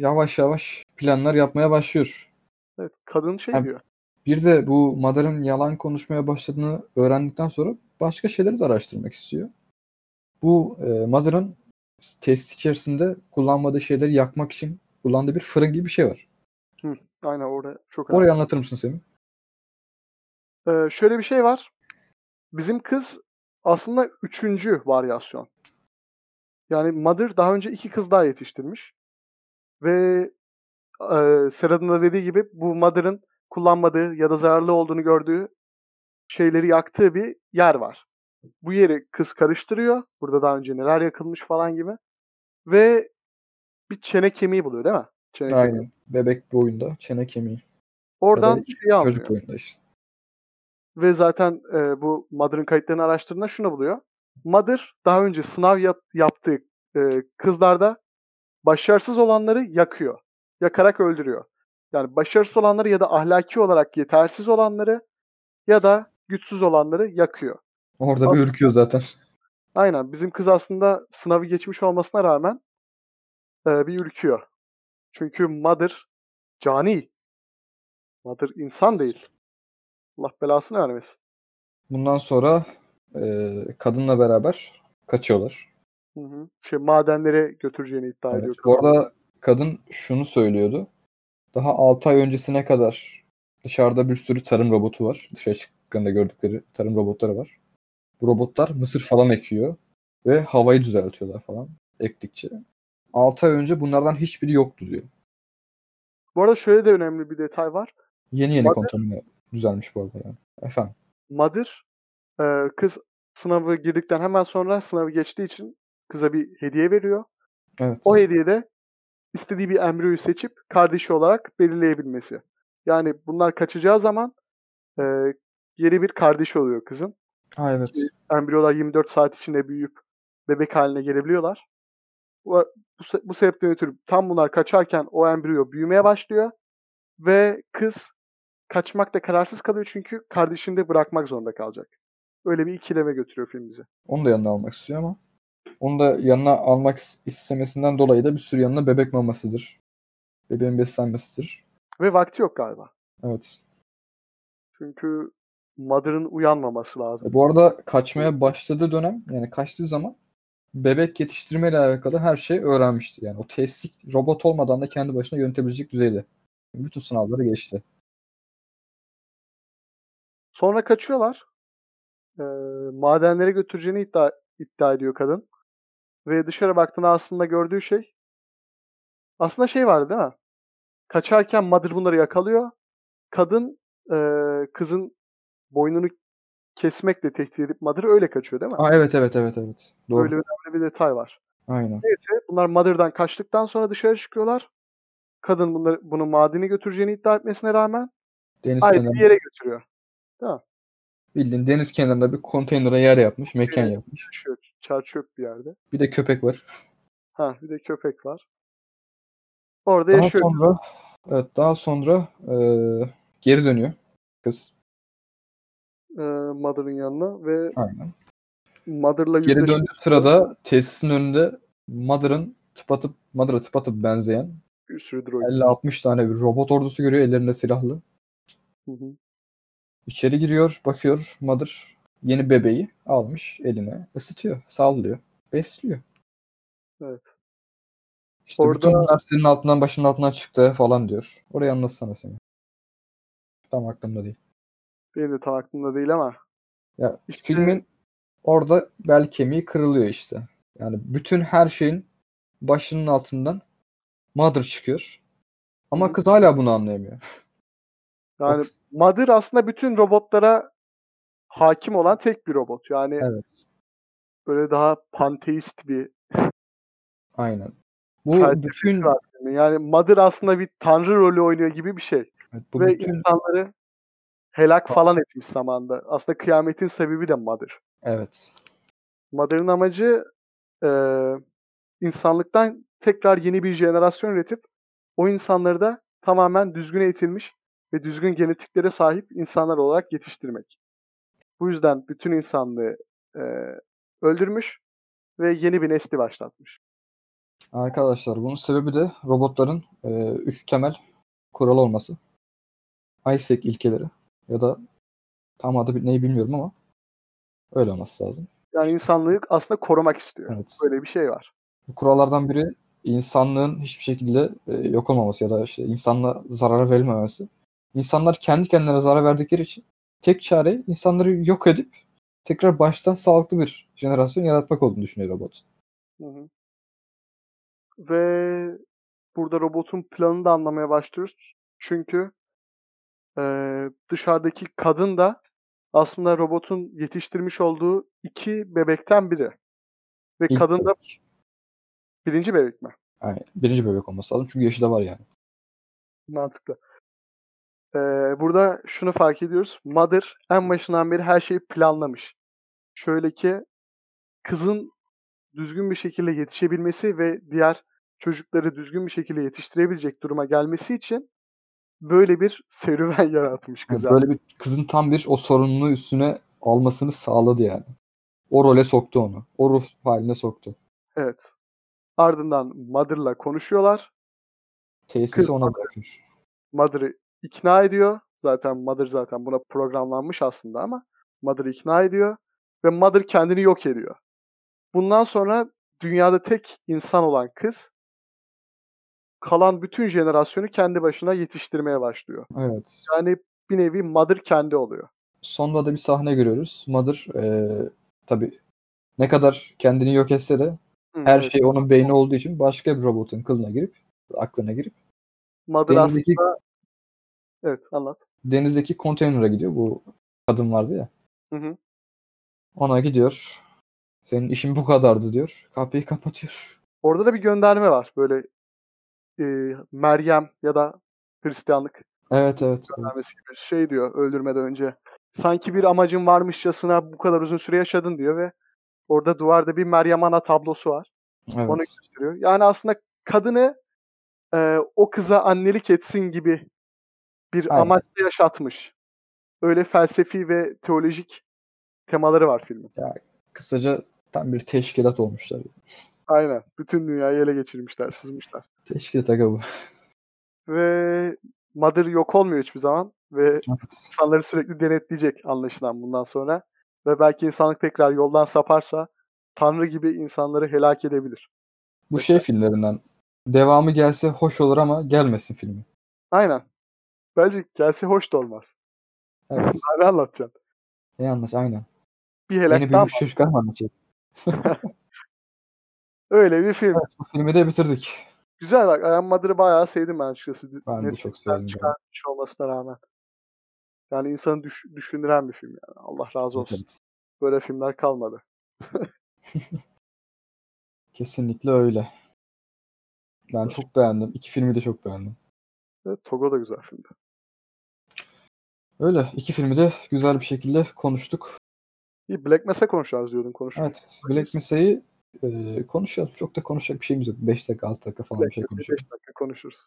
yavaş yavaş planlar yapmaya başlıyor.
Evet, kadın şey
Hem-
diyor.
Bir de bu Madar'ın yalan konuşmaya başladığını öğrendikten sonra başka şeyleri de araştırmak istiyor. Bu eee Madar'ın test içerisinde kullanmadığı şeyleri yakmak için kullandığı bir fırın gibi bir şey var.
Aynen orada çok önemli.
Orayı anlatır mısın Semih?
Ee, şöyle bir şey var. Bizim kız aslında üçüncü varyasyon. Yani Mother daha önce iki kız daha yetiştirmiş. Ve e, Serhat'ın da dediği gibi bu Mother'ın kullanmadığı ya da zararlı olduğunu gördüğü şeyleri yaktığı bir yer var. Bu yeri kız karıştırıyor. Burada daha önce neler yakılmış falan gibi. Ve bir çene kemiği buluyor değil mi? Çene kemiği.
Aynen. Bebek boyunda, çene kemiği.
Oradan şeyi alıyor.
Çocuk boyunda işte.
Ve zaten e, bu Mother'ın kayıtlarını araştırdığında şunu buluyor. Mother daha önce sınav yap- yaptığı e, kızlarda başarısız olanları yakıyor. Yakarak öldürüyor. Yani başarısız olanları ya da ahlaki olarak yetersiz olanları ya da güçsüz olanları yakıyor.
Orada bir ürküyor zaten.
Aynen bizim kız aslında sınavı geçmiş olmasına rağmen e, bir ürküyor. Çünkü Mother cani. Mother insan değil. Allah belasını vermesin.
Bundan sonra e, kadınla beraber kaçıyorlar.
Hı hı. Şey madenlere götüreceğini iddia
Evet.
ediyor.
Bu arada kadın şunu söylüyordu. Daha 6 ay öncesine kadar dışarıda bir sürü tarım robotu var. Dışarı çıktığında gördükleri tarım robotları var. Bu robotlar mısır falan ekiyor ve havayı düzeltiyorlar falan ektikçe. 6 ay önce bunlardan hiçbiri yoktu diyor.
Bu arada şöyle de önemli bir detay var.
Yeni yeni
Bak-
kontamine düzelmiş bu arada yani. Efendim.
Mother e, kız sınavı girdikten hemen sonra sınavı geçtiği için kıza bir hediye veriyor.
Evet.
O hediyede istediği bir embriyoyu seçip kardeşi olarak belirleyebilmesi. Yani bunlar kaçacağı zaman e, yeni bir kardeşi oluyor kızın.
Ha, evet.
Embriyolar 24 saat içinde büyüyüp bebek haline gelebiliyorlar. Bu, bu, se- bu sebepten ötürü tam bunlar kaçarken o embriyo büyümeye başlıyor ve kız kaçmakta kararsız kalıyor çünkü kardeşini de bırakmak zorunda kalacak. Öyle bir ikileme götürüyor film bizi.
Onu da yanına almak istiyor ama onu da yanına almak is- istemesinden dolayı da bir sürü yanına bebek mamasıdır. Bebeğin beslenmesidir.
Ve vakti yok galiba.
Evet.
Çünkü Mother'ın uyanmaması lazım.
E, Bu arada kaçmaya başladığı dönem yani kaçtığı zaman bebek yetiştirmeyle alakalı her şeyi öğrenmişti. Yani o tesis robot olmadan da kendi başına yönetebilecek düzeyde. Bütün sınavları geçti.
Sonra kaçıyorlar. Ee, madenlere götüreceğini iddia, iddia ediyor kadın. Ve dışarı baktığında aslında gördüğü şey aslında şey vardı değil mi? Kaçarken Mother bunları yakalıyor. Kadın ee, kızın boynunu kesmekle tehdit edip Mother öyle kaçıyor değil mi?
Aa evet evet evet evet. Doğru.
Böyle önemli bir detay var.
Aynen.
Neyse bunlar Mother'dan kaçtıktan sonra dışarı çıkıyorlar. Kadın bunları, bunu madeni götüreceğini iddia etmesine rağmen
Deniz
ayrı
kenarında
bir yere götürüyor.
bildiğin deniz kenarında bir konteynere yer yapmış, mekan
Evet.
yapmış.
Çarşıyor, çarçöp bir yerde.
Bir de köpek var.
Ha bir de köpek var. Orada
Daha
yaşıyor.
sonra evet daha sonra eee, geri dönüyor kız.
e, Mother'ın yanına ve
Aynen.
Mother'la
Geri
yüzleşiyor.
döndüğü sırada tesisin önünde Mother'ın tıpatıp Mother'a tıpatıp benzeyen
Bir sürü droid.
50-60 tane bir robot ordusu görüyor ellerinde silahlı.
Hı hı.
İçeri giriyor, bakıyor Mother yeni bebeği almış eline, ısıtıyor, sallıyor, besliyor.
Evet.
İşte
Orada-
bütün bunlar senin altından başının altından çıktı falan diyor. Orayı anlatsana seni. Tam aklımda değil.
Benim de tam aklımda değil ama.
Ya
İşte-
filmin orada bel kemiği kırılıyor işte. Yani bütün her şeyin başının altından Mother çıkıyor.
Hı
Ama
hı.
kız hala bunu anlayamıyor.
Yani
Yoksa-
Mother aslında bütün robotlara hakim olan tek bir robot. Yani
Evet.
böyle daha panteist bir
Aynen. Bu
Felsefesi
bütün
var. yani Mother aslında bir tanrı rolü oynuyor gibi bir şey.
evet, bu
ve
bütün
insanları helak falan etmiş zamanda. Aslında kıyametin sebebi de Mother.
evet.
Mother'ın amacı e, insanlıktan tekrar yeni bir jenerasyon üretip o insanları da tamamen düzgün eğitilmiş ve düzgün genetiklere sahip insanlar olarak yetiştirmek. Bu yüzden bütün insanlığı e, öldürmüş ve yeni bir nesli başlatmış.
Arkadaşlar bunun sebebi de robotların e, üç temel kural olması. Isaac ilkeleri ya da tam adı bil- neyi bilmiyorum ama öyle olması lazım.
Yani insanlığı aslında korumak istiyor.
Evet.
Böyle bir şey var.
Bu kurallardan biri insanlığın hiçbir şekilde e, yok olmaması ya da işte insanla zarar verilmemesi. İnsanlar kendi kendilerine zarar verdikleri için tek çare insanları yok edip tekrar baştan sağlıklı bir jenerasyon yaratmak olduğunu düşünüyor robot.
Hı hı. Ve burada robotun planını da anlamaya başlıyoruz. Çünkü eee, dışarıdaki kadın da aslında robotun yetiştirmiş olduğu iki bebekten biri. Ve
İlk
kadın da
bebek.
birinci bebek mi?
Yani birinci bebek olması lazım çünkü yaşı da var yani.
Mantıklı. Eee, burada şunu fark ediyoruz. Mother en başından beri her şeyi planlamış. Şöyle ki kızın düzgün bir şekilde yetişebilmesi ve diğer çocukları düzgün bir şekilde yetiştirebilecek duruma gelmesi için böyle bir serüven yaratmış
Yani
kıza.
böyle bir kızın tam bir o sorununu üstüne almasını sağladı yani. O role soktu onu. O ruh haline soktu.
Evet. Ardından Mother'la konuşuyorlar. Kız-
Tesisi ona bırakmış.
Mother'ı ikna ediyor. Zaten Mother zaten buna programlanmış aslında ama Mother'ı ikna ediyor ve Mother kendini yok ediyor. Bundan sonra dünyada tek insan olan kız kalan bütün jenerasyonu kendi başına yetiştirmeye başlıyor.
Evet.
Yani bir nevi Mother kendi oluyor.
Sonunda da bir sahne görüyoruz. Mother eee tabii ne kadar kendini yok etse de
Hı,
her
evet.
şey onun beyni olduğu için başka bir robotun kılına girip aklına girip
Mother aslında...
denizdeki,
Evet anlat.
denizdeki konteyner'a gidiyor. Bu kadın vardı ya.
Hı hı.
Ona gidiyor. Senin işin bu kadardı diyor. Kapıyı kapatıyor.
Orada da bir gönderme var. Böyle e, Meryem ya da Hristiyanlık
Evet evet. evet.
göndermesi gibi şey diyor öldürmeden önce. Sanki bir amacın varmışçasına bu kadar uzun süre yaşadın diyor ve orada duvarda bir Meryem Ana tablosu var.
evet.
Onu gösteriyor. Yani aslında kadını e, o kıza annelik etsin gibi bir
Aynen.
amaçla yaşatmış. Öyle felsefi ve teolojik temaları var filmin.
Kısaca tam bir teşkilat olmuşlar.
Aynen. Bütün dünyayı ele geçirmişler, sızmışlar.
Teşkilat aga bu.
Ve Mother yok olmuyor hiçbir zaman ve
Evet.
insanları sürekli denetleyecek anlaşılan bundan sonra. Ve belki insanlık tekrar yoldan saparsa Tanrı gibi insanları helak edebilir.
Bu şey filmlerinden. Devamı gelse hoş olur ama gelmesin filmi.
Aynen. Bence gelse hoş da olmaz.
Evet.
Ne anlatacağım?
Ne anlaş aynen.
Bir
Yeni
helak
bir şey
daha
müşrik anlatacak.
Öyle bir film.
Evet, bu filmi de bitirdik.
Güzel bak. Ayan Mother'ı bayağı sevdim ben açıkçası.
Ben de çok
Netflix'ten
sevdim. yani.
çıkarmış olmasına rağmen. Yani insanı düş- düşündüren bir film yani. Allah razı olsun.
Evet.
Böyle filmler kalmadı.
Kesinlikle öyle. Ben çok beğendim. İki filmi de çok beğendim.
Evet, Togo da güzel filmdi.
Öyle. iki filmi de güzel bir şekilde konuştuk.
İyi Black Mesa konuşacağız diyordun konuşurken.
Evet. Black Mesa'yı e, konuşalım. Çok da konuşacak bir şeyimiz yok. 5 dakika 6 dakika falan bir
Black
şey
Mesa'yı
konuşalım.
beş dakika konuşuruz.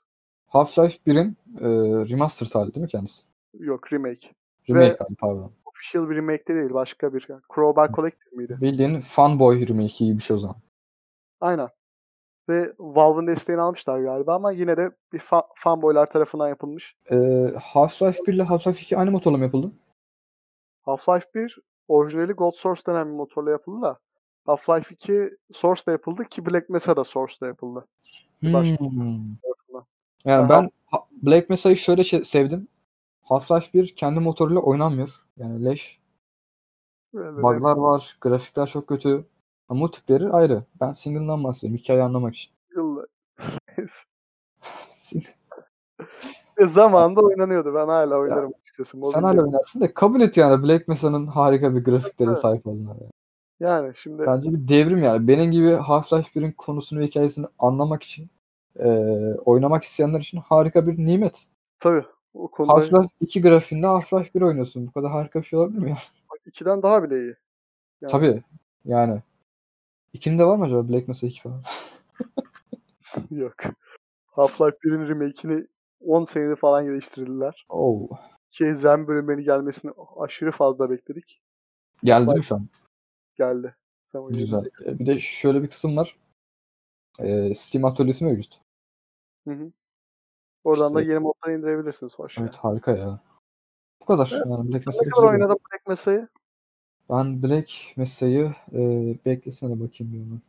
Half-Life 1'in e, remastered hali değil mi kendisi?
Yok remake.
Remake hali pardon.
Official remake de değil başka bir. Crowbar Collective miydi?
Bildiğin fanboy remake'i gibi bir şey o zaman.
Aynen. Ve Valve'ın desteğini almışlar galiba ama yine de bir fa- fanboylar tarafından yapılmış.
E, Half-Life 1 ile Half-Life 2 aynı motorla mı yapıldı?
Half-Life 1 orijinali Gold Source denen bir motorla yapıldı da Half-Life 2 Source'da yapıldı ki Black Mesa da Source'da yapıldı. Başka.
Hmm.
Ortada.
Yani
Aha.
ben Ha- Black Mesa'yı şöyle şey- sevdim. Half-Life 1 kendi motoruyla oynanmıyor. Yani leş.
Böyle de-
Bug'lar var. Grafikler çok kötü. Ama o tipleri ayrı. Ben single'dan bahsediyorum. Hikayeyi anlamak için.
Yıllar. Ve zamanında oynanıyordu. Ben hala oynarım açıkçası.
Sen
Mobilde.
hala oynarsın da kabul et yani Black Mesa'nın harika bir grafiklere sahip olduğunu.
Yani şimdi
Bence bir devrim yani. Benim gibi Half-Life 1'in konusunu ve hikayesini anlamak için eee, oynamak isteyenler için harika bir nimet.
tabii o konuda
Half-Life 2 grafiğinde Half-Life 1 oynuyorsun. Bu kadar harika bir şey olabilir mi ya?
2'den daha bile iyi. Yani.
Tabii. Yani. İkinin de var mı acaba Black Mesa 2 falan?
Yok. Half-Life 1'in remake'ini 10 senede falan geliştirdiler.
Oo.
Ki Zen bölümlerinin gelmesini aşırı fazla bekledik.
Geldi mi şu an?
Geldi. Sen oyunu
Güzel.
izledin.
E, Bir de şöyle bir kısım var. Ee, Steam atölyesi mevcut.
Oradan da
İşte-
yeni modları indirebilirsiniz hoş.
Evet harika ya. Bu kadar.
Evet.
Yani Black
Sen
Mesa'yı
ne kadar oynadın Black Mesa'yı?
Ben Black Mesa'yı e, beklesene bakayım bir onu.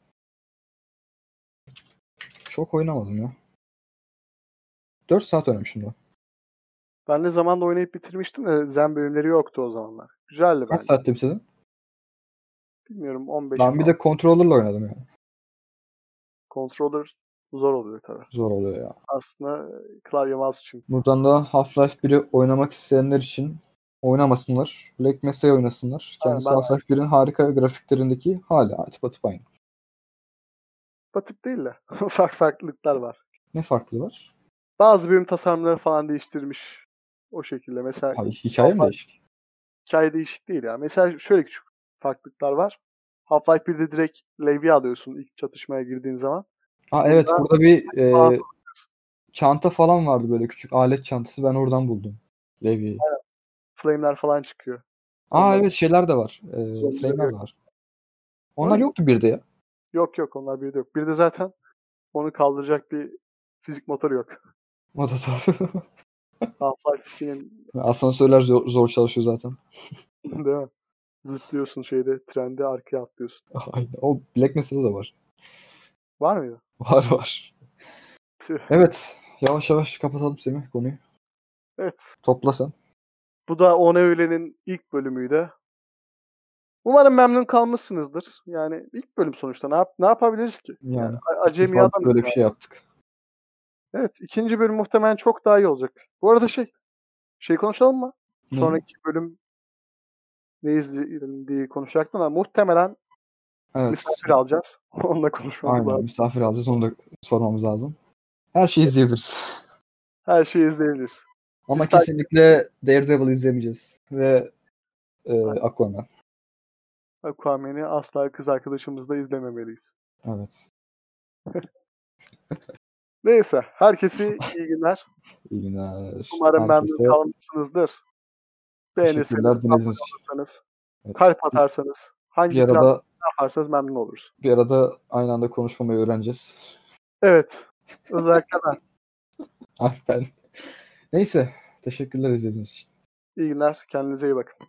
Çok oynamadım ya. 4 saat oynamışım da.
Ben de zamanla oynayıp bitirmiştim de Zen bölümleri yoktu o zamanlar. Güzeldi
Kaç
bence.
saatte bitirdin?
Bilmiyorum 15
Ben bir de controller'la oynadım yani.
controller zor oluyor tabii.
Zor oluyor ya.
Aslında e, klavye mouse için.
Buradan da Half-Life 1'i oynamak isteyenler için oynamasınlar. Black Mesa'yı oynasınlar.
Aynen,
Kendisi
ben-
Half-Life 1'in harika grafiklerindeki hala atıp atıp aynı.
Batık değil de farklı farklılıklar var.
Ne farklı var?
Bazı bölüm tasarımları falan değiştirmiş. O şekilde mesela
Abi, hikaye mi
Half-Life-
değişik?
hikaye değişik değil ya. Mesela şöyle küçük farklılıklar var. Half-Life 1'de direkt Levi alıyorsun ilk çatışmaya girdiğin zaman.
Ha evet burada bir e,
Aa.
çanta falan vardı böyle küçük alet çantası. Ben oradan buldum. Levi'yi.
Flame'ler falan çıkıyor.
Aa
Ondan-
evet şeyler de var. Ee,
Zombiler
flame'ler
yok.
de var. Onlar yoktu bir de ya.
Yok yok onlar bir de yok. Bir de zaten onu kaldıracak bir fizik motoru yok.
O da doğru.
Half-Life'in
Asansörler zor, zor çalışıyor zaten.
değil mi? Zıplıyorsun şeyde trende arkaya atlıyorsun.
Aynen. O Black Mesa'da da var.
Var mıydı?
Var var.
Tüh.
Evet. Yavaş yavaş kapatalım Semih konuyu.
Evet.
Toplasan.
Bu da One Öğle'nin ilk bölümüydü. Umarım memnun kalmışsınızdır. Yani ilk bölüm sonuçta ne, yap- ne yapabiliriz ki?
Yani.
A- Acemi
ufak
adam.
Böyle bir şey yaptık.
Evet ikinci bölüm muhtemelen çok daha iyi olacak. Bu arada şey şey konuşalım mı?
Ne?
Sonraki bölüm ne izleyelim diye konuşacaktım ama muhtemelen
Evet.
misafir alacağız. Onunla konuşmamız
Aynen.
lazım.
Misafir alacağız. Onu da sormamız lazım. Her şeyi izleyebiliriz.
Her şeyi izleyebiliriz.
Ama
Biz takip
kesinlikle Daredevil izlemeyeceğiz. Ve e, Aquaman.
Aquaman'i asla kız arkadaşımızla izlememeliyiz.
Evet.
Neyse. Herkese iyi günler.
İyi günler.
Umarım
Herkese
memnun kalmışsınızdır. Beğenirseniz,
Teşekkürler dinlediğiniz için.
atarsanız,
Evet.
kalp atarsanız, hangi
Bir
plan
arada
yaparsanız memnun oluruz.
bir arada aynı anda konuşmamayı öğreneceğiz.
Evet. Özellikle ben.
Aferin. Neyse. Teşekkürler izlediğiniz için.
İyi günler. Kendinize iyi bakın.